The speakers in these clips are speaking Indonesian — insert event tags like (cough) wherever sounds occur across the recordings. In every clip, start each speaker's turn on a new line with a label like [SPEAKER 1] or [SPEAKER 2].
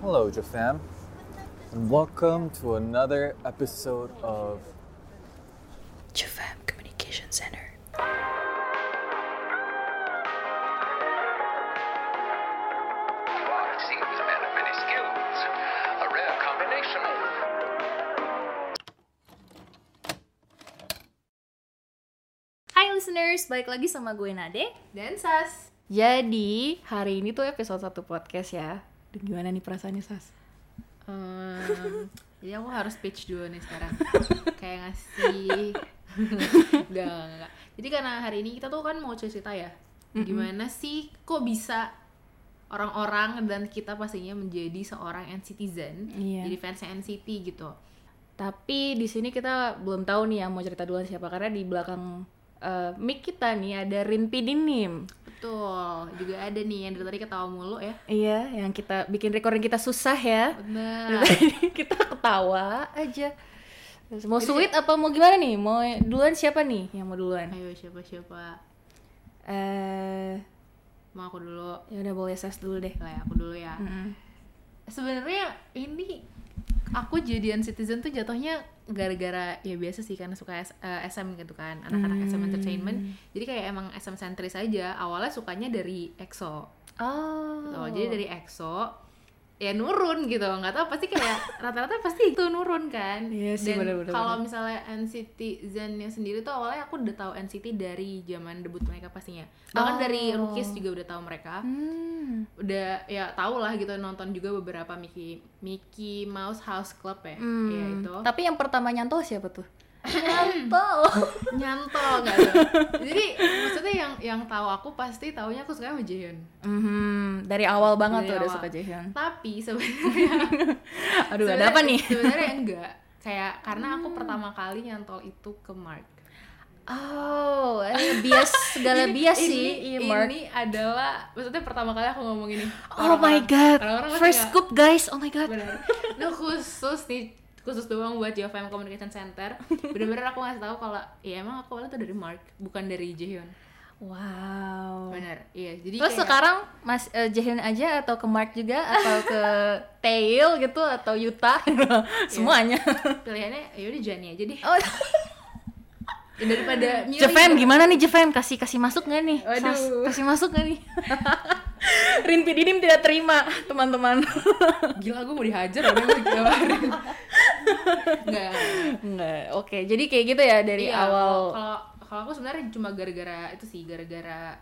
[SPEAKER 1] Hello, Jafam, and welcome to another episode of
[SPEAKER 2] Jafam Communication Center.
[SPEAKER 3] Well, it seems a man of many skills, a rare combination.
[SPEAKER 4] Hai listeners, balik lagi sama gue Nade
[SPEAKER 5] dan Sas.
[SPEAKER 6] Jadi hari ini tuh episode satu podcast ya. Dan gimana nih perasaannya Sas?
[SPEAKER 5] Ehm, jadi aku harus pitch dulu nih sekarang. Kayak ngasih (laughs) Enggak, enggak, enggak. Jadi karena hari ini kita tuh kan mau cerita ya. Gimana sih kok bisa orang-orang dan kita pastinya menjadi seorang NCTzen,
[SPEAKER 6] Iya.
[SPEAKER 5] jadi fans NCT gitu.
[SPEAKER 6] Tapi di sini kita belum tahu nih yang mau cerita duluan siapa karena di belakang eh, mic kita nih ada Rin Pidinim.
[SPEAKER 5] Betul. Juga ada nih yang dari tadi ketawa mulu ya.
[SPEAKER 6] Iya, yang kita bikin recording kita susah ya.
[SPEAKER 5] Bener.
[SPEAKER 6] (laughs) Dari tadi kita ketawa aja. Terus Mau sweet apa mau gimana nih? Mau duluan siapa nih yang mau duluan?
[SPEAKER 5] Ayo siapa-siapa.
[SPEAKER 6] Eh,
[SPEAKER 5] Mau aku dulu.
[SPEAKER 6] ya udah boleh Sas dulu deh.
[SPEAKER 5] Lah, aku dulu ya.
[SPEAKER 6] Mm-mm.
[SPEAKER 5] sebenarnya ini aku jadian citizen tuh jatuhnya gara-gara ya biasa sih karena suka S- eh, SM gitu kan anak-anak SM entertainment jadi kayak emang SM sentris aja awalnya sukanya dari EXO
[SPEAKER 6] Oh.
[SPEAKER 5] gitu. jadi dari EXO ya nurun gitu nggak tahu pasti
[SPEAKER 6] (laughs)
[SPEAKER 5] kayak rata-rata pasti itu nurun kan
[SPEAKER 6] Iya sih,
[SPEAKER 5] dan
[SPEAKER 6] bener-bener.
[SPEAKER 5] kalau misalnya NCT Zennya sendiri tuh awalnya aku udah tahu NCT dari zaman debut mereka pastinya bahkan
[SPEAKER 6] Oh.
[SPEAKER 5] dari Rookies juga udah tahu mereka
[SPEAKER 6] Hmm.
[SPEAKER 5] udah ya tau lah gitu nonton juga beberapa Mickey Mickey Mouse House Club ya
[SPEAKER 6] Hmm,
[SPEAKER 5] ya itu
[SPEAKER 6] Tapi yang pertama nyantol siapa tuh? nyantol.
[SPEAKER 5] nyantol nggak
[SPEAKER 6] (laughs)
[SPEAKER 5] tuh jadi maksudnya yang yang tahu aku pasti taunya aku suka sama Jaehyun
[SPEAKER 6] Mhm, dari awal banget
[SPEAKER 5] Dari
[SPEAKER 6] tuh udah
[SPEAKER 5] awal.
[SPEAKER 6] suka (laughs) Jaehyun.
[SPEAKER 5] tapi sebenarnya
[SPEAKER 6] Aduh, ada
[SPEAKER 5] sebenarnya-
[SPEAKER 6] apa nih? Hmm.
[SPEAKER 5] sebenarnya enggak kayak karena aku pertama kali nyantol itu ke Mark
[SPEAKER 6] Oh, eh, bias segala
[SPEAKER 5] Ini-
[SPEAKER 6] bias
[SPEAKER 5] ini-
[SPEAKER 6] sih, iya,
[SPEAKER 5] ini,
[SPEAKER 6] Mark.
[SPEAKER 5] adalah maksudnya pertama kali aku ngomong ini
[SPEAKER 6] Oh my god.
[SPEAKER 5] Orang-orang pasti
[SPEAKER 6] First
[SPEAKER 5] nggak-
[SPEAKER 6] scoop guys. Oh my god.
[SPEAKER 5] benar Nah, khusus nih khusus doang buat JFM Communication Center bener-bener aku ngasih tahu kalau ya emang aku awalnya tuh dari Mark bukan dari Jaehyun
[SPEAKER 6] Wow.
[SPEAKER 5] bener iya jadi
[SPEAKER 6] Oh. Terus
[SPEAKER 5] kayak-
[SPEAKER 6] sekarang Mas eh, Jaehyun aja atau ke Mark juga atau (laughs) ke Tail gitu atau Yuta (laughs) semuanya.
[SPEAKER 5] pilihannya ya udah Jani aja deh
[SPEAKER 6] Iya. Oh,
[SPEAKER 5] Ya, daripada milih
[SPEAKER 6] Jefem gimana nih Jefem kasih kasih masuk nggak nih?
[SPEAKER 5] Waduh.
[SPEAKER 6] Sas, kasih masuk nggak (laughs) nih? Rinpi Didim tidak terima teman-teman. (laughs)
[SPEAKER 5] gila gue mau dihajar orang yang kemarin nggak
[SPEAKER 6] Enggak. Oke, jadi kayak gitu ya dari
[SPEAKER 5] Iya,
[SPEAKER 6] awal.
[SPEAKER 5] kalau- kalau kalau aku sebenarnya cuma gara-gara itu sih gara-gara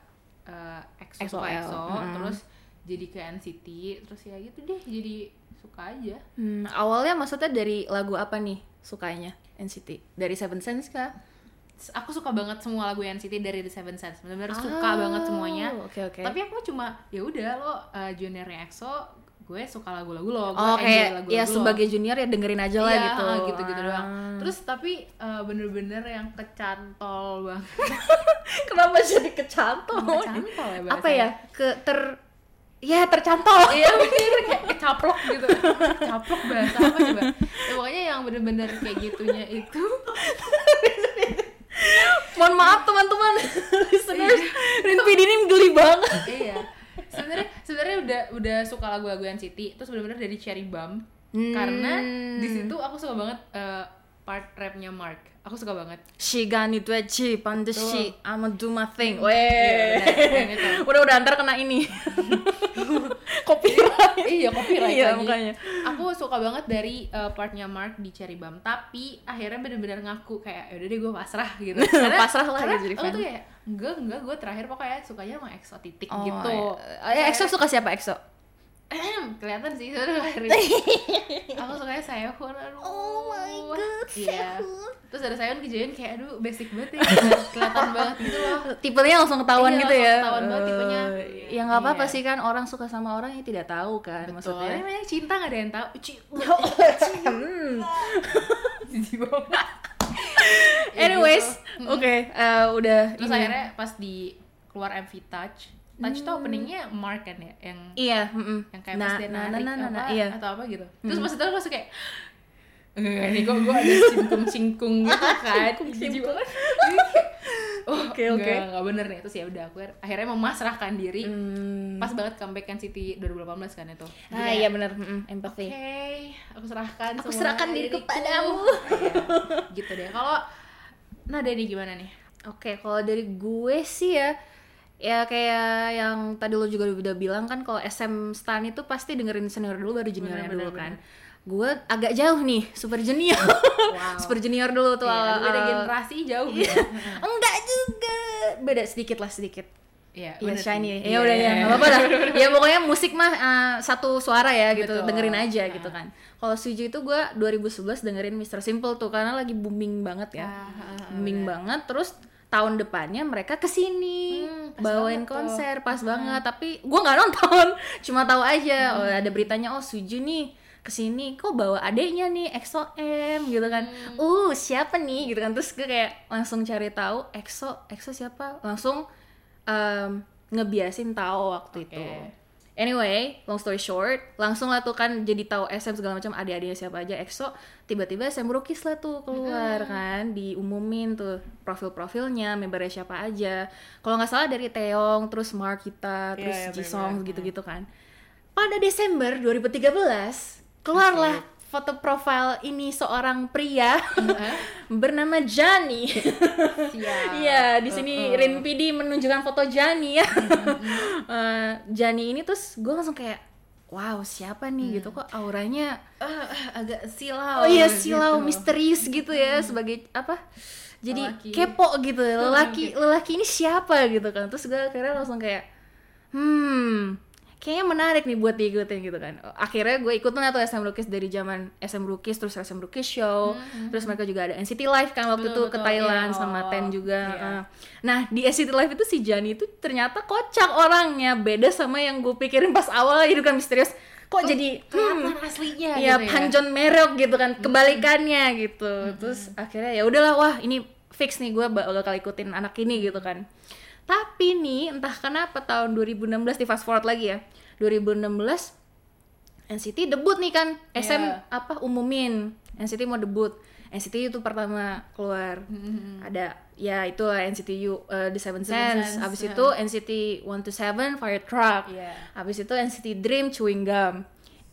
[SPEAKER 5] eh, EXO
[SPEAKER 6] XOL,
[SPEAKER 5] suka EXO
[SPEAKER 6] mm-mm.
[SPEAKER 5] terus jadi ke NCT terus ya gitu deh jadi suka aja
[SPEAKER 6] Hmm, awalnya maksudnya dari lagu apa nih sukanya NCT? Dari Seven Sense kah?
[SPEAKER 5] aku suka banget semua lagu NCT dari The Seven Sense benar-benar suka
[SPEAKER 6] Ah,
[SPEAKER 5] banget semuanya
[SPEAKER 6] Oke oke.
[SPEAKER 5] tapi aku cuma ya udah lo uh, juniornya EXO gue suka lagu-lagu lo gue
[SPEAKER 6] oh
[SPEAKER 5] enjoy
[SPEAKER 6] kayak
[SPEAKER 5] lagu-lagu
[SPEAKER 6] ya
[SPEAKER 5] lo.
[SPEAKER 6] sebagai junior ya dengerin aja lah
[SPEAKER 5] Iya,
[SPEAKER 6] gitu.
[SPEAKER 5] ah, gitu-gitu doang
[SPEAKER 6] Ah.
[SPEAKER 5] terus tapi uh, bener-bener yang kecantol banget
[SPEAKER 6] kenapa jadi kecantol?
[SPEAKER 5] Kecantol ya
[SPEAKER 6] apa
[SPEAKER 5] bahasanya.
[SPEAKER 6] ya? Ke ter ya tercantol.
[SPEAKER 5] iya bener kayak kecaplok gitu kecaplok bahasa apa coba ya, pokoknya yang bener-bener kayak gitunya itu (laughs)
[SPEAKER 6] Mohon maaf teman-teman (laughs) listeners. Rinpi Dinim geli banget.
[SPEAKER 5] iya sebenarnya sebenarnya udah udah suka lagu-lagu NCT terus bener-bener dari Cherry Bomb
[SPEAKER 6] Hmm.
[SPEAKER 5] karena di situ aku suka banget uh, part rapnya Mark aku suka banget
[SPEAKER 6] She gonna do it, she pandeshi, I'ma do my thing.
[SPEAKER 5] Iya,
[SPEAKER 6] Weh.
[SPEAKER 5] benar, yang
[SPEAKER 6] gitu.
[SPEAKER 5] itu.
[SPEAKER 6] Udah-udah antar kena (laughs) ini. Copyright.
[SPEAKER 5] iya copyright
[SPEAKER 6] (laughs) Iya,
[SPEAKER 5] lagi.
[SPEAKER 6] makanya.
[SPEAKER 5] aku suka banget dari uh, partnya Mark di Cherry Bomb tapi akhirnya bener-bener ngaku kayak yaudah deh gue pasrah
[SPEAKER 6] (laughs)
[SPEAKER 5] gitu
[SPEAKER 6] Pasrah lah
[SPEAKER 5] karena
[SPEAKER 6] gitu jadi
[SPEAKER 5] aku
[SPEAKER 6] fan.
[SPEAKER 5] tuh kayak enggak enggak gue terakhir pokoknya sukanya sama EXO titik
[SPEAKER 6] Oh,
[SPEAKER 5] gitu
[SPEAKER 6] Eh, EXO suka siapa EXO?
[SPEAKER 5] Ahem, kelihatan sih sebenernya
[SPEAKER 6] (laughs)
[SPEAKER 5] aku sukanya Sehun aduh
[SPEAKER 6] Oh my God,
[SPEAKER 5] iya.
[SPEAKER 6] Sehun.
[SPEAKER 5] terus ada Sehun kejadian kayak aduh basic banget ya
[SPEAKER 6] (laughs)
[SPEAKER 5] kelihatan banget gitu loh
[SPEAKER 6] Tipenya langsung ketahuan
[SPEAKER 5] Iya,
[SPEAKER 6] gitu ya.
[SPEAKER 5] langsung ketahuan banget tipenya.
[SPEAKER 6] Eh, ya nggak apa-apa
[SPEAKER 5] Iya.
[SPEAKER 6] sih kan orang suka sama orang yang tidak tahu kan
[SPEAKER 5] soalnya
[SPEAKER 6] maksudnya.
[SPEAKER 5] memang cinta gak ada yang tahu
[SPEAKER 6] (laughs)
[SPEAKER 5] Ci-
[SPEAKER 6] Hmm.
[SPEAKER 5] Jijik
[SPEAKER 6] (laughs)
[SPEAKER 5] banget. Ya
[SPEAKER 6] Anyways,
[SPEAKER 5] gitu.
[SPEAKER 6] oke, eh, udah
[SPEAKER 5] terus
[SPEAKER 6] ini.
[SPEAKER 5] akhirnya pas di keluar MV Touch Touch tuh
[SPEAKER 6] Hmm.
[SPEAKER 5] openingnya Mark kan ya yang
[SPEAKER 6] Iya, mm-mm.
[SPEAKER 5] yang kayak
[SPEAKER 6] nah,
[SPEAKER 5] pas dia
[SPEAKER 6] nah, nah,
[SPEAKER 5] narik
[SPEAKER 6] nah, nah,
[SPEAKER 5] apa,
[SPEAKER 6] nah, iya.
[SPEAKER 5] atau apa gitu terus pas itu aku langsung kayak
[SPEAKER 6] (laughs)
[SPEAKER 5] "Eh, (laughs) Enggak, ini kok gue ada singkung-singkung gitu kan Jijik banget. Jadi kayak,
[SPEAKER 6] Oke,
[SPEAKER 5] Nggak-
[SPEAKER 6] oke. Hmm.
[SPEAKER 5] nggak bener nih terus ya udah aku akhirnya memasrahkan diri pas banget comeback kan City 2018 kan itu
[SPEAKER 6] Ah
[SPEAKER 5] Jadi
[SPEAKER 6] iya benar, mm,
[SPEAKER 5] Oke,
[SPEAKER 6] empathy.
[SPEAKER 5] aku serahkan.
[SPEAKER 6] Aku
[SPEAKER 5] semua
[SPEAKER 6] serahkan diri
[SPEAKER 5] diriku.
[SPEAKER 6] kepadamu.
[SPEAKER 5] (laughs) Iya, gitu deh. Kalau Nada nih gimana nih?
[SPEAKER 6] Oke, kalau dari gue sih ya ya kayak yang tadi lo juga udah bilang kan kalau SM stan itu pasti dengerin senior dulu baru juniornya
[SPEAKER 5] Bener, bener,
[SPEAKER 6] dulu kan. Gue agak jauh nih, super junior.
[SPEAKER 5] Wow.
[SPEAKER 6] (laughs) super junior dulu tuh.
[SPEAKER 5] Iya,
[SPEAKER 6] awal-
[SPEAKER 5] aduh, beda
[SPEAKER 6] awal-
[SPEAKER 5] generasi jauh
[SPEAKER 6] iya.
[SPEAKER 5] ya.
[SPEAKER 6] Enggak juga. Beda sedikit lah sedikit.
[SPEAKER 5] Iya,
[SPEAKER 6] Iya
[SPEAKER 5] bener sih.
[SPEAKER 6] shiny.
[SPEAKER 5] Iya.
[SPEAKER 6] Ya udah ya, nggak apa-apa
[SPEAKER 5] (laughs)
[SPEAKER 6] lah. Ya pokoknya musik mah eh, satu suara ya gitu,
[SPEAKER 5] Betul.
[SPEAKER 6] dengerin aja
[SPEAKER 5] Ah.
[SPEAKER 6] gitu kan. Kalau Suju itu gue 2011 dengerin Mr. Simple tuh karena lagi booming banget ya.
[SPEAKER 5] Ah, ah, ah,
[SPEAKER 6] booming banget terus tahun depannya mereka kesini
[SPEAKER 5] Hmm, pas
[SPEAKER 6] bawain
[SPEAKER 5] banget tuh.
[SPEAKER 6] konser pas banget tapi gue nggak nonton (laughs) cuma tahu aja oh, ada beritanya oh Suju nih kesini kok bawa adeknya nih EXO M gitu kan uh siapa nih gitu kan terus gue kayak langsung cari tahu EXO EXO siapa langsung em, ngebiasin tahu waktu itu
[SPEAKER 5] Oke.
[SPEAKER 6] Anyway, long story short, langsung lah tuh kan jadi tahu SM segala macam adik-adiknya siapa aja EXO, tiba-tiba SM Rookies lah tuh keluar kan, diumumin tuh profil-profilnya, membernya siapa aja. Kalau nggak salah dari Taeyong, terus Markita, terus
[SPEAKER 5] iya,
[SPEAKER 6] Jisung gitu-gitu kan. Pada Desember 2013, keluarlah foto profil ini seorang pria
[SPEAKER 5] Iya.
[SPEAKER 6] (laughs) bernama
[SPEAKER 5] (laughs)
[SPEAKER 6] Jani.
[SPEAKER 5] Siap.
[SPEAKER 6] Iya, di sini Rin PD menunjukkan foto Jani ya. (laughs) Eh, Jani ini terus gue langsung kayak wow siapa nih gitu kok auranya
[SPEAKER 5] Ah, ah, agak silau.
[SPEAKER 6] oh iya
[SPEAKER 5] gitu.
[SPEAKER 6] silau misterius gitu ya sebagai apa jadi
[SPEAKER 5] Lelaki.
[SPEAKER 6] kepo gitu lelaki lelaki ini siapa gitu kan terus gue akhirnya langsung kayak hmm kayaknya menarik nih buat diikutin gitu kan akhirnya gue ikutin atau SM Rookies dari zaman SM Rookies terus SM Rookies Show terus mereka juga ada NCT Live kan waktu itu
[SPEAKER 5] Betul,
[SPEAKER 6] ke
[SPEAKER 5] betul.
[SPEAKER 6] Thailand
[SPEAKER 5] Iya,
[SPEAKER 6] sama
[SPEAKER 5] awal-awal.
[SPEAKER 6] Ten juga
[SPEAKER 5] Iya.
[SPEAKER 6] eh. nah di NCT Live itu si Jani itu ternyata kocak orangnya beda sama yang gue pikirin pas awal jadi kan misterius
[SPEAKER 5] Oh,
[SPEAKER 6] kok jadi hmm,
[SPEAKER 5] Kelihatan
[SPEAKER 6] Iya,
[SPEAKER 5] aslinya gitu ya. Hmm.
[SPEAKER 6] Panjon Merok gitu kan, kebalikannya gitu. Terus akhirnya ya udahlah, wah ini fix nih gue bakal ikutin anak ini gitu kan. Tapi nih entah kenapa tahun 2016 di fast forward lagi ya. 2016 NCT debut nih kan SM
[SPEAKER 5] Iya.
[SPEAKER 6] apa umumin NCT mau debut NCT itu pertama keluar
[SPEAKER 5] Hmm.
[SPEAKER 6] ada ya itulah NCT U eh, The Seven Sense
[SPEAKER 5] Sense,
[SPEAKER 6] abis itu NCT One to Seven Firetruck
[SPEAKER 5] Iya.
[SPEAKER 6] abis itu NCT Dream Chewing Gum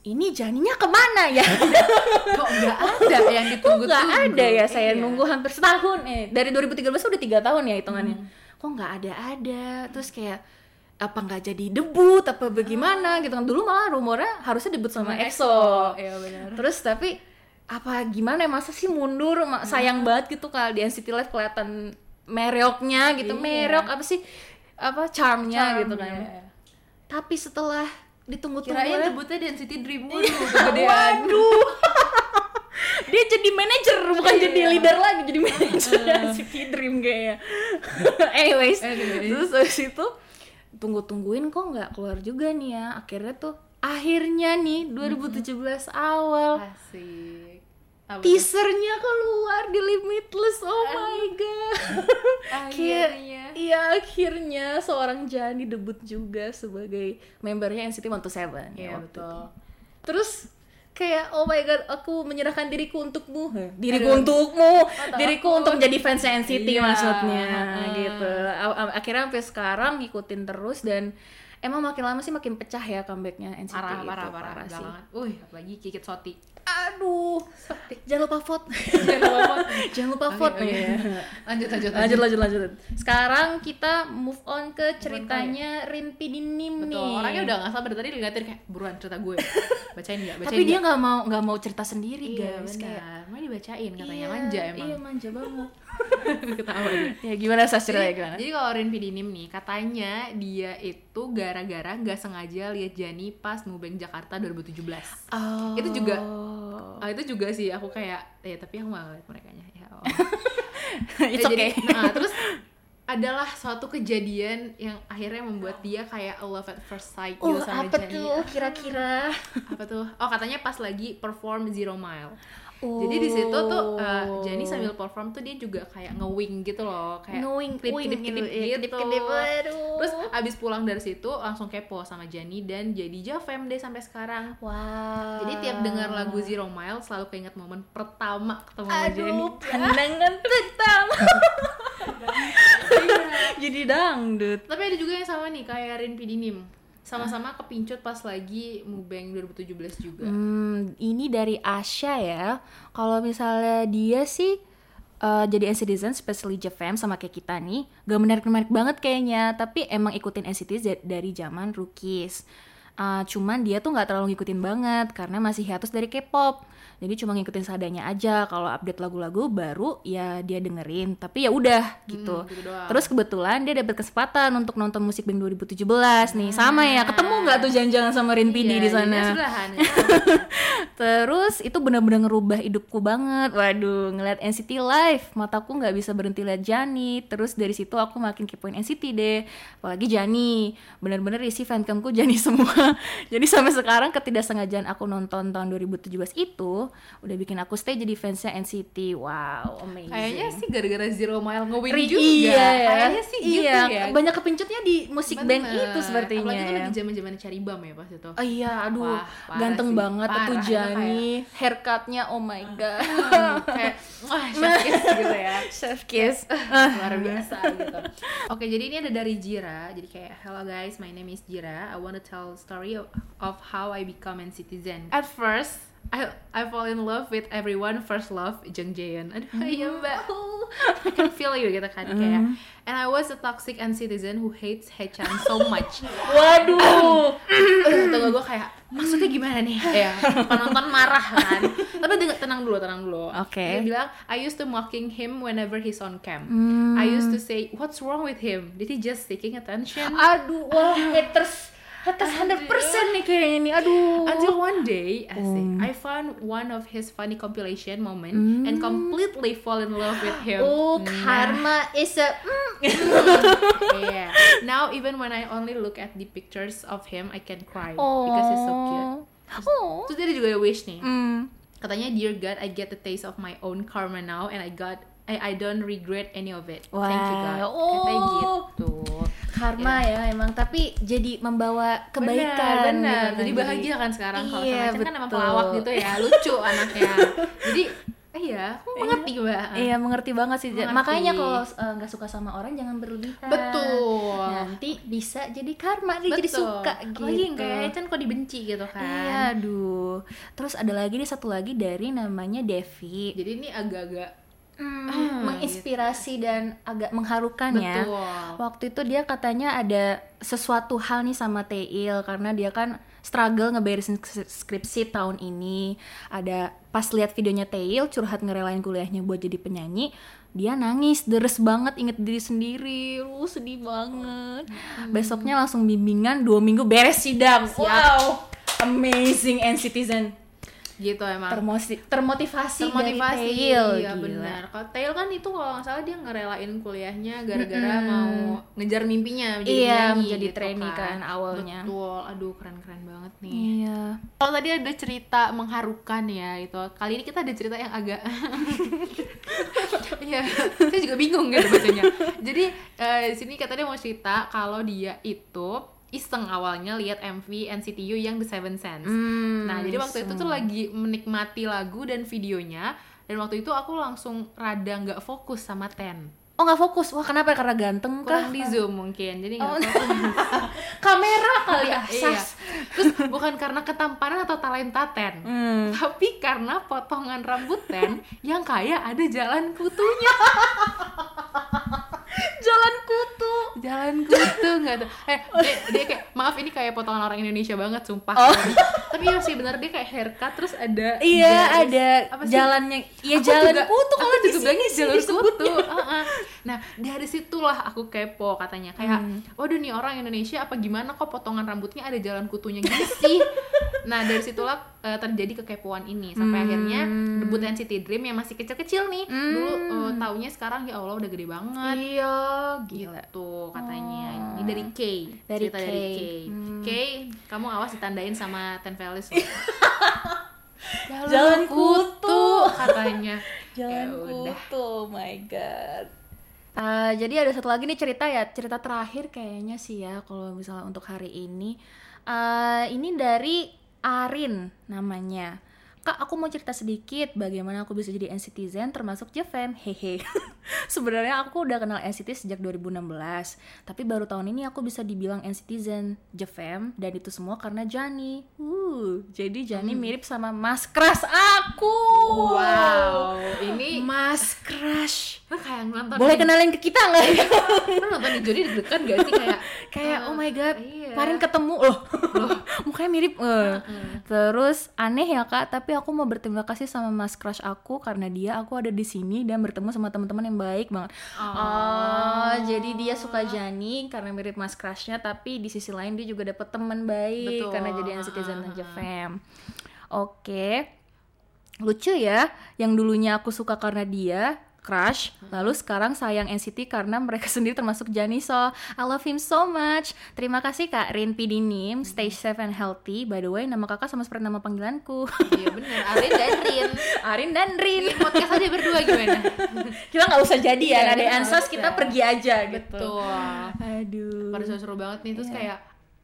[SPEAKER 6] ini janinya kemana
[SPEAKER 5] (laughs)
[SPEAKER 6] ya
[SPEAKER 5] Kok nggak
[SPEAKER 6] (laughs)
[SPEAKER 5] ada yang
[SPEAKER 6] kok
[SPEAKER 5] ditunggu-tunggu?
[SPEAKER 6] nggak ada ya saya
[SPEAKER 5] Iya.
[SPEAKER 6] nunggu hampir setahun eh dari 2013 udah tiga tahun ya hitungannya
[SPEAKER 5] Hmm.
[SPEAKER 6] kok nggak ada ada terus kayak apa nggak jadi debut apa
[SPEAKER 5] Ah.
[SPEAKER 6] bagaimana gitu kan dulu malah rumornya harusnya debut sama EXO
[SPEAKER 5] Iya benar.
[SPEAKER 6] terus tapi apa gimana ya, masa sih mundur
[SPEAKER 5] Hmm.
[SPEAKER 6] Ma- sayang banget gitu kalau di NCT Live kelihatan mereoknya gitu
[SPEAKER 5] Iya.
[SPEAKER 6] merok apa sih apa charmnya gitu kan
[SPEAKER 5] Iya.
[SPEAKER 6] tapi setelah ditunggu-tunggu
[SPEAKER 5] Kirain debutnya di NCT
[SPEAKER 6] (laughs)
[SPEAKER 5] Dream dulu kegedean.
[SPEAKER 6] Iya. Waduh. (laughs) Dia jadi manajer bukan jadi leader lagi, jadi (laughs) manajer NCT Dream kayaknya. (laughs) Anyways,
[SPEAKER 5] Anyways.
[SPEAKER 6] terus habis itu tunggu-tungguin kok nggak keluar juga nih ya. Akhirnya tuh akhirnya nih 2017 awal
[SPEAKER 5] Asik. Apa tuh?
[SPEAKER 6] teasernya keluar di Limitless. Oh my
[SPEAKER 5] (laughs)
[SPEAKER 6] god. (laughs) Kayak-
[SPEAKER 5] Akhirnya.
[SPEAKER 6] Iya, akhirnya seorang Jani debut juga sebagai membernya NCT 127.
[SPEAKER 5] Iya
[SPEAKER 6] waktu itu.
[SPEAKER 5] betul.
[SPEAKER 6] terus kayak oh my god aku menyerahkan diriku untukmu Heh, diriku
[SPEAKER 5] Aduh. Oh,
[SPEAKER 6] untukmu (laughs) diriku untuk jadi fans NCT
[SPEAKER 5] Iya.
[SPEAKER 6] maksudnya
[SPEAKER 5] Heeh.
[SPEAKER 6] gitu A- a- akhirnya sampai sekarang ngikutin terus dan emang makin lama sih makin pecah ya comebacknya NCT
[SPEAKER 5] parah
[SPEAKER 6] itu
[SPEAKER 5] parah parah, parah
[SPEAKER 6] sih
[SPEAKER 5] banget. Wih, apalagi kikit soti.
[SPEAKER 6] aduh jangan lupa
[SPEAKER 5] (laughs)
[SPEAKER 6] vote jangan lupa
[SPEAKER 5] Oke,
[SPEAKER 6] vote
[SPEAKER 5] oke.
[SPEAKER 6] ya.
[SPEAKER 5] Lanjut lanjut
[SPEAKER 6] lanjut lanjut lanjut sekarang kita move on ke ceritanya Rinpi Dinim
[SPEAKER 5] Betul,
[SPEAKER 6] nih
[SPEAKER 5] orangnya udah gak sabar dari tadi ngeliatin kayak buruan cerita gue. Bacain enggak? Bacain
[SPEAKER 6] tapi dia nggak mau nggak mau cerita sendiri
[SPEAKER 5] iya,
[SPEAKER 6] guys kayak
[SPEAKER 5] benar. Mau dibacain katanya
[SPEAKER 6] Iya,
[SPEAKER 5] manja emang.
[SPEAKER 6] iya manja banget
[SPEAKER 5] (laughs)
[SPEAKER 6] Iya.
[SPEAKER 5] Ketawa dia.
[SPEAKER 6] ya gimana sas ceritanya
[SPEAKER 5] Jadi,
[SPEAKER 6] gimana
[SPEAKER 5] jadi kalau Rin Pidinim nih katanya dia itu gara-gara nggak sengaja lihat Jani pas Nubank Jakarta 2017.
[SPEAKER 6] oh.
[SPEAKER 5] itu juga- (laughs) Ah itu juga sih aku kayak ya tapi aku nggak ngeliat mereka ya
[SPEAKER 6] (laughs)
[SPEAKER 5] Allah.
[SPEAKER 6] it's
[SPEAKER 5] Eh, jadi-
[SPEAKER 6] okay (laughs)
[SPEAKER 5] nah, terus adalah suatu kejadian yang akhirnya membuat dia kayak a love at first sight gitu
[SPEAKER 6] oh
[SPEAKER 5] sama
[SPEAKER 6] apa
[SPEAKER 5] Jenny.
[SPEAKER 6] tuh kira-kira
[SPEAKER 5] Apa tuh? Oh, katanya pas lagi perform Zero Mile. Jadi di situ tuh eh,
[SPEAKER 6] Oh.
[SPEAKER 5] Jenny sambil perform tuh dia juga kayak nge-wing gitu loh, kayak
[SPEAKER 6] knowing
[SPEAKER 5] kedip-kedip
[SPEAKER 6] iya,
[SPEAKER 5] gitu.
[SPEAKER 6] kedip aduh
[SPEAKER 5] Terus abis pulang dari situ langsung kepo sama Jenny dan jadi Javem deh sampai sekarang.
[SPEAKER 6] wow
[SPEAKER 5] Jadi tiap dengar
[SPEAKER 6] Ah.
[SPEAKER 5] lagu Zero Mile selalu keinget momen (laughs) pertama ketemu sama Jenny.
[SPEAKER 6] aduh pandangan tentang (laughs) jadi dangdut
[SPEAKER 5] Tapi ada juga yang sama nih kayak Rin Pidinim.
[SPEAKER 6] Ah.
[SPEAKER 5] Sama-sama kepincut pas lagi Mubeng 2017 juga.
[SPEAKER 6] Hmm, ini dari Asya ya. Kalau misalnya dia sih eh, jadi NCTizen, especially JFM sama kayak kita nih, gak menarik-menarik banget kayaknya. Tapi emang ikutin NCT dari zaman rookies. Eh, cuman dia tuh nggak terlalu ngikutin banget karena masih hiatus dari K-pop. Jadi cuma ngikutin seadanya aja. Kalau update lagu-lagu baru ya dia dengerin. Tapi ya udah gitu.
[SPEAKER 5] gitu doang.
[SPEAKER 6] Terus kebetulan dia dapat kesempatan untuk nonton musik Bank 2017 nih. Sama ya, ketemu nggak tuh jangan-jangan sama Rin Pidi
[SPEAKER 5] Ah. Iya,
[SPEAKER 6] di sana?
[SPEAKER 5] jadinya sebelahan.
[SPEAKER 6] (laughs)
[SPEAKER 5] ya.
[SPEAKER 6] Terus itu bener-bener ngerubah hidupku banget. Waduh, ngeliat NCT live, mataku nggak bisa berhenti lihat Jani. Terus dari situ aku makin kepoin NCT deh. Apalagi Jani, bener-bener isi fancamku Jani (laughs) semua. jadi sampai sekarang ketidaksengajaan aku nonton tahun 2017 itu udah bikin aku stay jadi fansnya NCT. Wow, amazing.
[SPEAKER 5] Kayaknya sih gara-gara Zero Mile ngewin
[SPEAKER 6] Ri-
[SPEAKER 5] juga.
[SPEAKER 6] Iya, ya.
[SPEAKER 5] Kayaknya sih
[SPEAKER 6] Iya,
[SPEAKER 5] gitu ya.
[SPEAKER 6] Banyak kepencutnya di musik band
[SPEAKER 5] Bener.
[SPEAKER 6] itu sepertinya.
[SPEAKER 5] Apalagi itu
[SPEAKER 6] ya.
[SPEAKER 5] lagi zaman-zaman cari bam ya pas itu.
[SPEAKER 6] Oh iya, aduh,
[SPEAKER 5] Wah, parah
[SPEAKER 6] ganteng
[SPEAKER 5] sih.
[SPEAKER 6] banget
[SPEAKER 5] Parah,
[SPEAKER 6] itu
[SPEAKER 5] itu Hmm.
[SPEAKER 6] Jani, haircutnya oh my
[SPEAKER 5] (laughs)
[SPEAKER 6] god,
[SPEAKER 5] kayak wah (laughs) syakis gitu ya. "Eh,
[SPEAKER 6] chef kiss.
[SPEAKER 5] luar biasa gitu. Oke, jadi ini ada dari Jira. Jadi kayak hello guys, my name is Jira. I want to tell story of, of how I become an citizen. At first, I I fall in love with everyone first love Jung Jaehyun. Aduh, iya (laughs) mbak. I can feel you gitu kan kayak. And I was a toxic and citizen who hates Haechan so much.
[SPEAKER 6] Waduh,
[SPEAKER 5] Tunggu gue kayak maksudnya gimana
[SPEAKER 6] (laughs)
[SPEAKER 5] nih? ya, penonton marah kan. Tapi dengar tenang dulu, tenang dulu.
[SPEAKER 6] Oke.
[SPEAKER 5] Dia bilang I used to mocking him whenever he's on cam. I
[SPEAKER 6] Hmm.
[SPEAKER 5] used to say what's wrong with him? Did he just seeking attention?
[SPEAKER 6] aduh, wah haters, haters 100% nih kayaknya nih, aduh.
[SPEAKER 5] Until one day,
[SPEAKER 6] Oh.
[SPEAKER 5] I say, I found one of his funny compilation moment and completely fall in love with
[SPEAKER 6] Hmm.
[SPEAKER 5] him.
[SPEAKER 6] Oh, karma is a mm.
[SPEAKER 5] yeah. Now even when I only look at the pictures of him, I can cry (laughs) because he's so cute.
[SPEAKER 6] Oh.
[SPEAKER 5] Terus dia juga ada wish nih.
[SPEAKER 6] Hmm.
[SPEAKER 5] Katanya dear God, I get the taste of my own karma now and I got I, I don't regret any of it. Thank you God.
[SPEAKER 6] Wow. Oh.
[SPEAKER 5] Katanya gitu.
[SPEAKER 6] Karma ya emang, tapi jadi membawa kebaikan.
[SPEAKER 5] Iya. benar.
[SPEAKER 6] gitu kan,
[SPEAKER 5] Jadi bahagia kan sekarang kalau
[SPEAKER 6] Iya,
[SPEAKER 5] sama Chen kan emang
[SPEAKER 6] betul.
[SPEAKER 5] pelawak gitu ya,
[SPEAKER 6] (laughs)
[SPEAKER 5] lucu anaknya. Jadi eh, iya, aku mengerti Mbak.
[SPEAKER 6] Iya mengerti banget sih.
[SPEAKER 5] Mengerti.
[SPEAKER 6] Makanya kalau eh, nggak suka sama orang jangan berlebihan.
[SPEAKER 5] Betul.
[SPEAKER 6] Nanti bisa jadi karma dia
[SPEAKER 5] Betul.
[SPEAKER 6] Nah, jadi suka gitu.
[SPEAKER 5] Apalagi kayak Chen kok dibenci gitu kan.
[SPEAKER 6] Iya, aduh. Terus ada lagi nih satu lagi dari namanya Devi.
[SPEAKER 5] Jadi ini agak-agak
[SPEAKER 6] Hmm, menginspirasi dan agak mengharukan ya.
[SPEAKER 5] Ah, gitu. Betul.
[SPEAKER 6] Waktu itu dia katanya ada sesuatu hal nih sama Teil karena dia kan struggle ngeberesin sk- skripsi tahun ini. Ada pas lihat videonya Teil curhat ngerelain kuliahnya buat jadi penyanyi, dia nangis deres banget inget diri sendiri. Lu sedih banget.
[SPEAKER 5] Hmm.
[SPEAKER 6] Besoknya langsung bimbingan dua minggu beres sidang. Wow. Amazing and citizen.
[SPEAKER 5] gitu emang.
[SPEAKER 6] Termosi- termotivasi,
[SPEAKER 5] termotivasi
[SPEAKER 6] dari Teil.
[SPEAKER 5] iya
[SPEAKER 6] Gila.
[SPEAKER 5] benar kalau Tail kan itu kalau nggak salah dia ngerelain kuliahnya gara-gara mau ngejar mimpinya menjadi
[SPEAKER 6] Iya,
[SPEAKER 5] penyanyi gitu
[SPEAKER 6] menjadi trainee kan awalnya.
[SPEAKER 5] betul aduh keren-keren banget nih
[SPEAKER 6] Iya.
[SPEAKER 5] kalau tadi ada cerita mengharukan ya itu kali ini kita ada cerita yang agak (laughs) Iya, saya juga bingung gitu bacanya. Jadi eh, di sini katanya mau cerita kalau dia itu iseng awalnya lihat MV NCTU yang The Seven Sense.
[SPEAKER 6] Mm. Hmm.
[SPEAKER 5] nah, jadi waktu itu tuh lagi menikmati lagu dan videonya dan waktu itu aku langsung rada nggak fokus sama Ten.
[SPEAKER 6] Oh nggak fokus. Wah kenapa? Karena ganteng kah?
[SPEAKER 5] Kurang di zoom mungkin. Jadi nggak
[SPEAKER 6] Oh.
[SPEAKER 5] fokus.
[SPEAKER 6] Kamera kali ya.
[SPEAKER 5] (laughs) Iya.
[SPEAKER 6] Sas.
[SPEAKER 5] Terus bukan karena ketampanan atau talenta Ten,
[SPEAKER 6] Hmm.
[SPEAKER 5] tapi karena potongan rambut Ten yang kayak ada jalan kutunya.
[SPEAKER 6] Jalan kutu.
[SPEAKER 5] jalan kutu nggak tuh eh dia, dia kayak maaf ini kayak potongan orang Indonesia banget sumpah tapi ya sih bener dia kayak haircut terus ada
[SPEAKER 6] Oh. Iya
[SPEAKER 5] garis-
[SPEAKER 6] ada
[SPEAKER 5] apa sih?
[SPEAKER 6] jalannya. Iya
[SPEAKER 5] Aku
[SPEAKER 6] jalan
[SPEAKER 5] juga-
[SPEAKER 6] kutu
[SPEAKER 5] aku
[SPEAKER 6] kalau di
[SPEAKER 5] juga
[SPEAKER 6] sini
[SPEAKER 5] bilangnya
[SPEAKER 6] sih
[SPEAKER 5] jalur kutu
[SPEAKER 6] disebutnya.
[SPEAKER 5] Heeh. nah dari situlah aku kepo katanya kayak
[SPEAKER 6] Hmm.
[SPEAKER 5] waduh nih orang Indonesia apa gimana kok potongan rambutnya ada jalan kutunya gitu sih nah dari situlah eh, terjadi kekepoan ini
[SPEAKER 6] Hmm.
[SPEAKER 5] sampai akhirnya debut NCT Dream yang masih kecil-kecil nih dulu eh, taunya sekarang ya Allah udah gede banget
[SPEAKER 6] Iya gila.
[SPEAKER 5] gitu katanya ini dari K
[SPEAKER 6] Dari
[SPEAKER 5] cerita dari
[SPEAKER 6] K. Hmm.
[SPEAKER 5] K K kamu awas ditandain sama Ten
[SPEAKER 6] (laughs)
[SPEAKER 5] Valleys
[SPEAKER 6] Jalan kutu.
[SPEAKER 5] katanya
[SPEAKER 6] Jalan
[SPEAKER 5] Ya udah.
[SPEAKER 6] kutu. Oh my god. Ah, jadi ada satu lagi nih cerita ya cerita terakhir kayaknya sih ya kalau misalnya Eh, untuk hari ini Ah, ini dari Arin namanya Kak, aku mau cerita sedikit bagaimana aku bisa jadi NCTzen termasuk JFM. Hehe. (laughs) Sebenarnya aku udah kenal NCT sejak 2016, tapi baru tahun ini aku bisa dibilang NCTzen, JFM, dan itu semua karena Jani. Uh, jadi Jani mirip sama Mas Kras aku.
[SPEAKER 5] Wow, ini
[SPEAKER 6] Mas Crush.
[SPEAKER 5] lo kayak nonton
[SPEAKER 6] Boleh kenalin ke kita nggak?
[SPEAKER 5] lo nonton di Jody deg-degan gak sih kayak
[SPEAKER 6] Kayak
[SPEAKER 5] eh,
[SPEAKER 6] oh my god,
[SPEAKER 5] iya.
[SPEAKER 6] kemarin ketemu loh. (laughs) Mukanya mirip. eh. Terus aneh ya Kak, tapi aku mau berterima kasih sama Mas Crush aku karena dia aku ada di sini dan bertemu sama teman-teman yang baik banget. Oh. jadi dia suka Jani karena mirip Mas Crushnya tapi di sisi lain dia juga dapet teman baik
[SPEAKER 5] Betul.
[SPEAKER 6] karena jadi citizen aja fam. Oke lucu ya yang dulunya aku suka karena dia crush lalu sekarang sayang NCT karena mereka (laughs) sendiri termasuk Janiso I love him so much terima kasih kak Rin Pidinim stay safe and healthy by the way nama kakak sama seperti nama panggilanku (laughs)
[SPEAKER 5] iya bener Arin dan Rin
[SPEAKER 6] Arin dan
[SPEAKER 5] ini
[SPEAKER 6] Rin
[SPEAKER 5] podcast aja berdua
[SPEAKER 6] (laughs)
[SPEAKER 5] gimana
[SPEAKER 6] kita nggak usah jadi ya
[SPEAKER 5] Iya,
[SPEAKER 6] ada
[SPEAKER 5] nggak
[SPEAKER 6] ansos
[SPEAKER 5] usah.
[SPEAKER 6] kita pergi aja gitu
[SPEAKER 5] betul
[SPEAKER 6] aduh
[SPEAKER 5] pada seru, seru banget nih
[SPEAKER 6] Iya.
[SPEAKER 5] terus kayak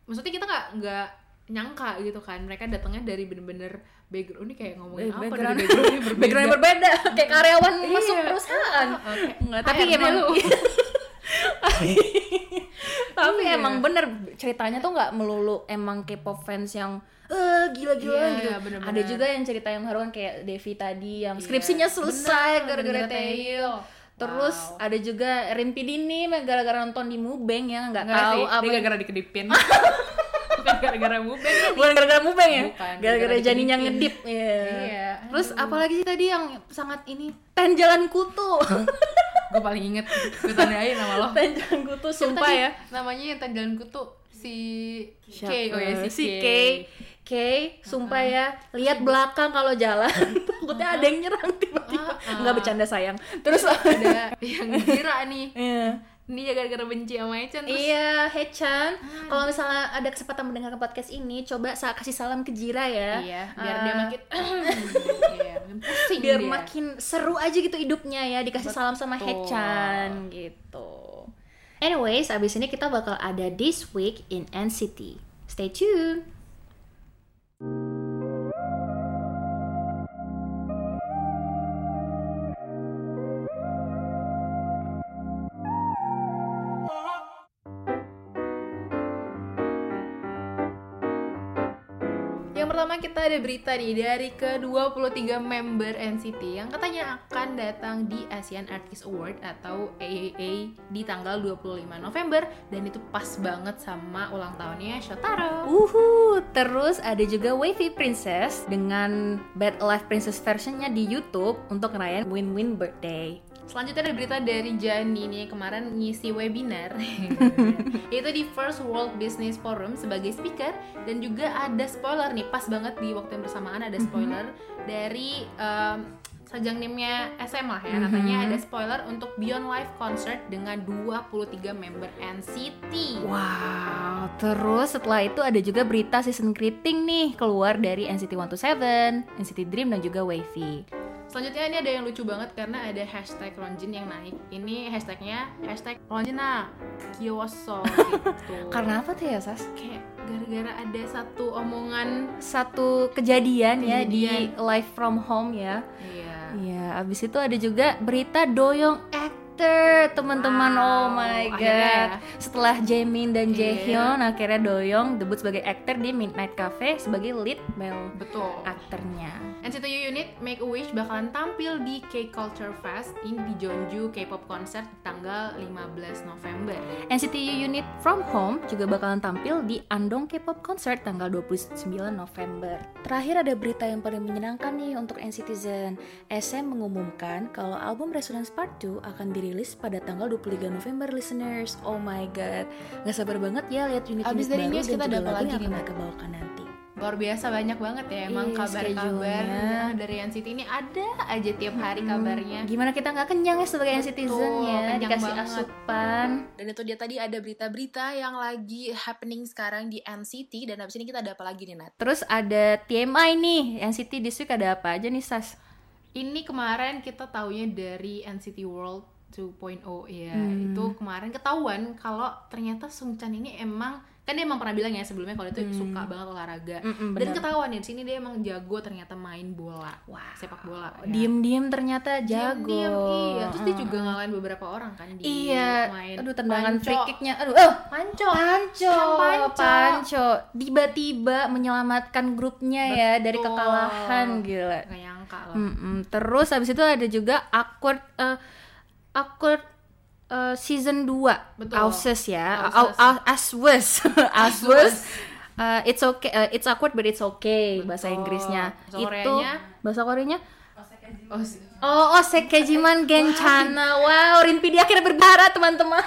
[SPEAKER 5] maksudnya kita nggak nggak nyangka gitu kan mereka datangnya dari bener-bener background ini kayak
[SPEAKER 6] Eh,
[SPEAKER 5] ngomongin apa
[SPEAKER 6] background-
[SPEAKER 5] dari backgroundnya berbeda
[SPEAKER 6] (laughs) background berbeda kayak karyawan masuk
[SPEAKER 5] Iya.
[SPEAKER 6] perusahaan
[SPEAKER 5] Oke.
[SPEAKER 6] Nggak, tapi
[SPEAKER 5] HRD
[SPEAKER 6] emang
[SPEAKER 5] lu.
[SPEAKER 6] (laughs) tapi
[SPEAKER 5] Iya.
[SPEAKER 6] emang bener ceritanya tuh nggak melulu emang K-pop fans yang eh gila-gila
[SPEAKER 5] Iya,
[SPEAKER 6] gitu
[SPEAKER 5] bener-bener. Iya,
[SPEAKER 6] ada juga yang cerita yang haruan kayak Devi tadi yang skripsinya selesai
[SPEAKER 5] Bener,
[SPEAKER 6] gara-gara
[SPEAKER 5] gara-gara Taehyung.
[SPEAKER 6] Taehyung terus
[SPEAKER 5] Wow.
[SPEAKER 6] ada juga Rin Pidini yang gara-gara nonton di Mubeng yang nggak
[SPEAKER 5] Nggak
[SPEAKER 6] tahu
[SPEAKER 5] sih,
[SPEAKER 6] apa
[SPEAKER 5] dia gara-gara
[SPEAKER 6] (laughs)
[SPEAKER 5] dikedipin bukan gara-gara mubeng ya
[SPEAKER 6] bukan gara-gara Mubeng ya
[SPEAKER 5] Bukan,
[SPEAKER 6] gara-gara
[SPEAKER 5] gara-gara
[SPEAKER 6] janinya
[SPEAKER 5] Pidini.
[SPEAKER 6] ngedip Iya.
[SPEAKER 5] Iya,
[SPEAKER 6] terus
[SPEAKER 5] aduh.
[SPEAKER 6] apalagi sih tadi yang sangat ini ten jalan
[SPEAKER 5] (laughs)
[SPEAKER 6] kutu
[SPEAKER 5] Oh. gue paling inget gue tandain sama lo
[SPEAKER 6] ten jalan kutu sumpah
[SPEAKER 5] Tadi
[SPEAKER 6] ya
[SPEAKER 5] namanya yang tandalanku tuh si K
[SPEAKER 6] Siapa?
[SPEAKER 5] oh ya si, Uh-huh.
[SPEAKER 6] si K. K, sumpah ya, lihat belakang kalau jalan.
[SPEAKER 5] (laughs)
[SPEAKER 6] (laughs) Takutnya ada yang nyerang tiba-tiba.
[SPEAKER 5] Uh-uh.
[SPEAKER 6] Enggak bercanda sayang.
[SPEAKER 5] (laughs)
[SPEAKER 6] Terus
[SPEAKER 5] ada yang kira nih
[SPEAKER 6] Iya.
[SPEAKER 5] ini gara-gara benci sama Echan terus
[SPEAKER 6] Iya, Hechan,
[SPEAKER 5] Ah.
[SPEAKER 6] kalau misalnya ada kesempatan mendengar podcast ini, coba sa- kasih salam ke Jira ya.
[SPEAKER 5] iya biar dia
[SPEAKER 6] Eh,
[SPEAKER 5] (clears throat) makin iya makin pusing
[SPEAKER 6] biar
[SPEAKER 5] dia.
[SPEAKER 6] makin seru aja gitu hidupnya ya, dikasih salam sama Hechan gitu. Anyways, abis ini kita bakal ada This Week in NCT. Stay tuned.
[SPEAKER 5] yang pertama kita ada berita nih dari ke-23 member NCT yang katanya akan datang di ASEAN Artist Award atau AAA di tanggal 25 November dan itu pas banget sama ulang tahunnya Shotaro
[SPEAKER 6] Uhu, terus ada juga Wavy Princess dengan Bad Life Princess versionnya di YouTube untuk ngerayain Win-Win Birthday.
[SPEAKER 5] Selanjutnya ada berita dari Jani nih kemarin ngisi webinar itu di First World Business Forum sebagai speaker dan juga ada spoiler nih pas banget di waktu yang bersamaan ada spoiler dari um, sajang nimnya SM lah ya katanya ada spoiler untuk Beyond Live Concert dengan 23 member NCT
[SPEAKER 6] Wow, terus setelah itu ada juga berita season greeting nih keluar dari NCT 127, NCT Dream dan juga Wavy.
[SPEAKER 5] Selanjutnya ini ada yang lucu banget karena ada hashtag Ronjin yang naik ini hashtagnya hashtag Ronjina Kiyoso gitu
[SPEAKER 6] Karena apa tuh ya, Sas?
[SPEAKER 5] kayak gara-gara ada satu omongan
[SPEAKER 6] Satu kejadian, ya di
[SPEAKER 5] Kejadian.
[SPEAKER 6] live from home ya.
[SPEAKER 5] Iya.
[SPEAKER 6] Iya, abis itu ada juga berita Doyong actor, teman-teman.
[SPEAKER 5] Wow,
[SPEAKER 6] oh my god.
[SPEAKER 5] akhirnya ya.
[SPEAKER 6] Setelah Jaemin dan
[SPEAKER 5] Iya.
[SPEAKER 6] Jaehyun akhirnya Doyong debut sebagai aktor di Midnight Cafe sebagai lead male
[SPEAKER 5] Betul.
[SPEAKER 6] aktornya.
[SPEAKER 5] NCT U Unit Make a Wish bakalan tampil di K Culture Fest ini di Jeonju K-pop Concert di tanggal 15 November.
[SPEAKER 6] NCT U Unit From Home juga bakalan tampil di Andong K-pop Concert tanggal 29 November. Terakhir ada berita yang paling menyenangkan nih untuk NCTzen. SM mengumumkan kalau album Resonance Part 2 akan dirilis pada tanggal 23 November listeners. Oh my god, nggak sabar banget ya lihat unit-unit
[SPEAKER 5] Abis dari
[SPEAKER 6] baru
[SPEAKER 5] news
[SPEAKER 6] dan
[SPEAKER 5] kita
[SPEAKER 6] juga
[SPEAKER 5] ada apa
[SPEAKER 6] lagu
[SPEAKER 5] lagi
[SPEAKER 6] yang akan
[SPEAKER 5] nih, Mbak?
[SPEAKER 6] mereka bawakan nanti.
[SPEAKER 5] Luar biasa banyak banget ya
[SPEAKER 6] Iya,
[SPEAKER 5] emang kabar-kabar Nah,
[SPEAKER 6] schedule-nya.
[SPEAKER 5] dari NCT ini ada aja tiap hari kabarnya.
[SPEAKER 6] Gimana kita nggak kenyang ya sebagai NCTzen
[SPEAKER 5] Hmm. Betul,
[SPEAKER 6] ya,
[SPEAKER 5] kenyang
[SPEAKER 6] dikasih
[SPEAKER 5] banget.
[SPEAKER 6] asupan.
[SPEAKER 5] Dan itu dia tadi ada berita-berita yang lagi happening sekarang di NCT dan abis ini kita ada apa lagi nih Nat?
[SPEAKER 6] Terus ada TMI nih, NCT this week ada apa aja nih Sas?
[SPEAKER 5] Ini kemarin kita taunya dari NCT World oh, iya.
[SPEAKER 6] Hmm.
[SPEAKER 5] 2.0 ya. Itu kemarin ketahuan kalau ternyata Sungchan ini emang kan dia emang pernah bilang ya sebelumnya kalau dia tuh suka banget olahraga
[SPEAKER 6] Hmm. Mm-mm,
[SPEAKER 5] dan
[SPEAKER 6] benar.
[SPEAKER 5] ketahuan ya di sini dia emang jago ternyata main bola
[SPEAKER 6] Wow.
[SPEAKER 5] sepak bola ya.
[SPEAKER 6] Diem-diem ternyata jago.
[SPEAKER 5] Diam-diam, iya terus dia
[SPEAKER 6] Mm.
[SPEAKER 5] juga ngalahin beberapa orang kan di
[SPEAKER 6] Iya.
[SPEAKER 5] main
[SPEAKER 6] Aduh tendangan
[SPEAKER 5] panco.
[SPEAKER 6] free kicknya. Aduh, oh,
[SPEAKER 5] panco
[SPEAKER 6] Panco,
[SPEAKER 5] Kan
[SPEAKER 6] Panco, tiba-tiba menyelamatkan grupnya ya dari
[SPEAKER 5] Betul. Nah.
[SPEAKER 6] kekalahan gila.
[SPEAKER 5] nggak nyangka loh
[SPEAKER 6] Mm-mm. Terus habis itu ada juga awkward eh, awkward eh, season 2
[SPEAKER 5] Betul.
[SPEAKER 6] Auses ya.
[SPEAKER 5] Auses. (laughs)
[SPEAKER 6] Aswes. Aswes. Eh, it's okay, eh, it's awkward but it's okay bahasa
[SPEAKER 5] Betul.
[SPEAKER 6] Inggrisnya.
[SPEAKER 5] Bahasa
[SPEAKER 6] itu
[SPEAKER 5] Koreanya?
[SPEAKER 6] bahasa Koreanya
[SPEAKER 5] oh, si-
[SPEAKER 6] Oh, Osek Kejiman Gencana. Wow, Rinpi di akhirnya berbicara, teman-teman.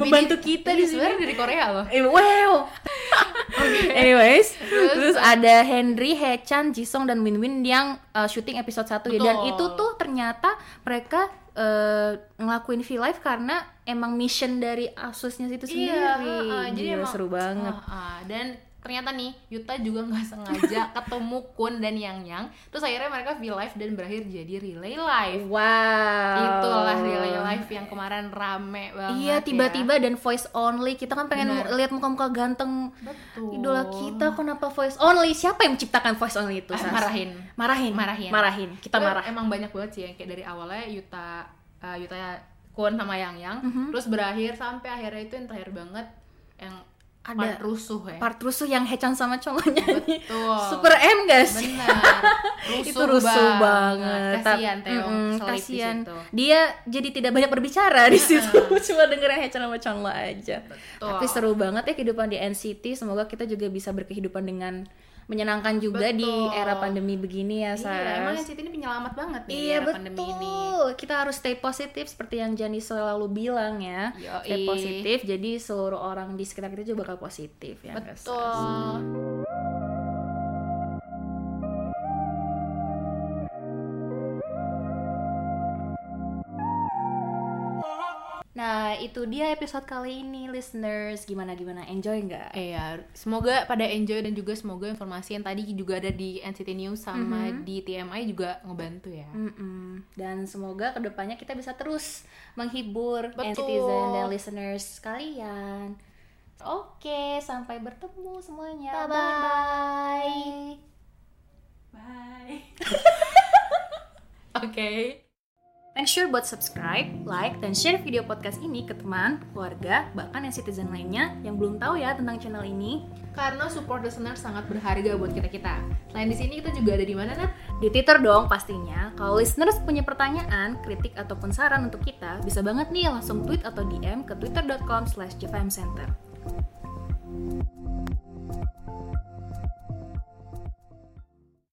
[SPEAKER 6] Membantu kita
[SPEAKER 5] ini
[SPEAKER 6] di sini.
[SPEAKER 5] sebenarnya dari Korea loh
[SPEAKER 6] Eh, (laughs) Wow. Anyways, terus, ada Henry, Hechan, Jisung dan Winwin yang uh, syuting episode 1 ya. Dan
[SPEAKER 5] Betul.
[SPEAKER 6] itu tuh ternyata mereka uh, ngelakuin V-Live karena emang mission dari Asusnya itu sendiri.
[SPEAKER 5] Iya, heeh, jadi
[SPEAKER 6] Gila,
[SPEAKER 5] emang
[SPEAKER 6] seru banget.
[SPEAKER 5] heeh. dan ternyata nih Yuta juga nggak
[SPEAKER 6] (laughs)
[SPEAKER 5] sengaja ketemu Kun dan Yang Yang. Terus akhirnya mereka V live dan berakhir jadi relay live.
[SPEAKER 6] Wow.
[SPEAKER 5] Itulah relay live yang kemarin rame banget.
[SPEAKER 6] Iya,
[SPEAKER 5] ya.
[SPEAKER 6] tiba-tiba dan voice only. Kita kan pengen
[SPEAKER 5] Benar.
[SPEAKER 6] lihat muka-muka ganteng
[SPEAKER 5] Betul.
[SPEAKER 6] idola kita kenapa voice only? Siapa yang menciptakan voice only itu?
[SPEAKER 5] Ah,
[SPEAKER 6] Sas?
[SPEAKER 5] marahin.
[SPEAKER 6] Marahin.
[SPEAKER 5] Marahin.
[SPEAKER 6] Marahin. Kita
[SPEAKER 5] Tapi
[SPEAKER 6] marah.
[SPEAKER 5] Emang banyak banget sih yang kayak dari awalnya Yuta eh, Yuta Kun sama Yang Yang.
[SPEAKER 6] Mhm.
[SPEAKER 5] Terus berakhir sampai akhirnya itu yang terakhir banget yang
[SPEAKER 6] Ada
[SPEAKER 5] part rusuh ya.
[SPEAKER 6] Part rusuh yang Hechan sama Chongonya nyanyi.
[SPEAKER 5] Betul.
[SPEAKER 6] Super M guys.
[SPEAKER 5] Benar. Rusuh
[SPEAKER 6] (laughs) itu rusuh banget.
[SPEAKER 5] Kasihan Teong
[SPEAKER 6] Mm-mm,
[SPEAKER 5] selip di
[SPEAKER 6] kasihan.
[SPEAKER 5] situ.
[SPEAKER 6] Dia jadi tidak banyak berbicara di situ. (laughs) Cuma dengerin Hechan sama Chongla aja.
[SPEAKER 5] Betul.
[SPEAKER 6] Tapi seru banget ya kehidupan di NCT. Semoga kita juga bisa berkehidupan dengan menyenangkan juga di
[SPEAKER 5] Betul.
[SPEAKER 6] era pandemi begini ya, Sas.
[SPEAKER 5] Iya, emang NCT ini penyelamat banget nih di
[SPEAKER 6] Iya
[SPEAKER 5] era
[SPEAKER 6] betul.
[SPEAKER 5] pandemi ini.
[SPEAKER 6] Kita harus stay positif seperti yang Jani selalu bilang ya.
[SPEAKER 5] Yoi.
[SPEAKER 6] Stay positif. Jadi seluruh orang di sekitar kita juga bakal positif ya. nggak, Sas?
[SPEAKER 5] Betul.
[SPEAKER 6] Nah itu dia episode kali ini listeners. Gimana gimana enjoy nggak?
[SPEAKER 5] Iya, semoga pada enjoy dan juga semoga informasi yang tadi juga ada di NCT News sama
[SPEAKER 6] Mm-hmm.
[SPEAKER 5] di TMI juga ngebantu ya.
[SPEAKER 6] Mm-mm. Dan semoga kedepannya kita bisa terus menghibur
[SPEAKER 5] Betul.
[SPEAKER 6] NCTzen dan listeners sekalian. Oke, sampai bertemu semuanya. Bye-bye.
[SPEAKER 5] Oke.
[SPEAKER 6] Make sure buat subscribe, like, dan share video podcast ini ke teman, keluarga, bahkan yang citizen lainnya yang belum tahu ya tentang channel ini
[SPEAKER 5] Karena support listener sangat berharga buat kita-kita. Selain di sini kita juga ada di mana, Nat?
[SPEAKER 6] di Twitter dong pastinya. Kalau listeners punya pertanyaan, kritik ataupun saran untuk kita, bisa banget nih langsung tweet atau DM ke twitter.com/jpmcenter.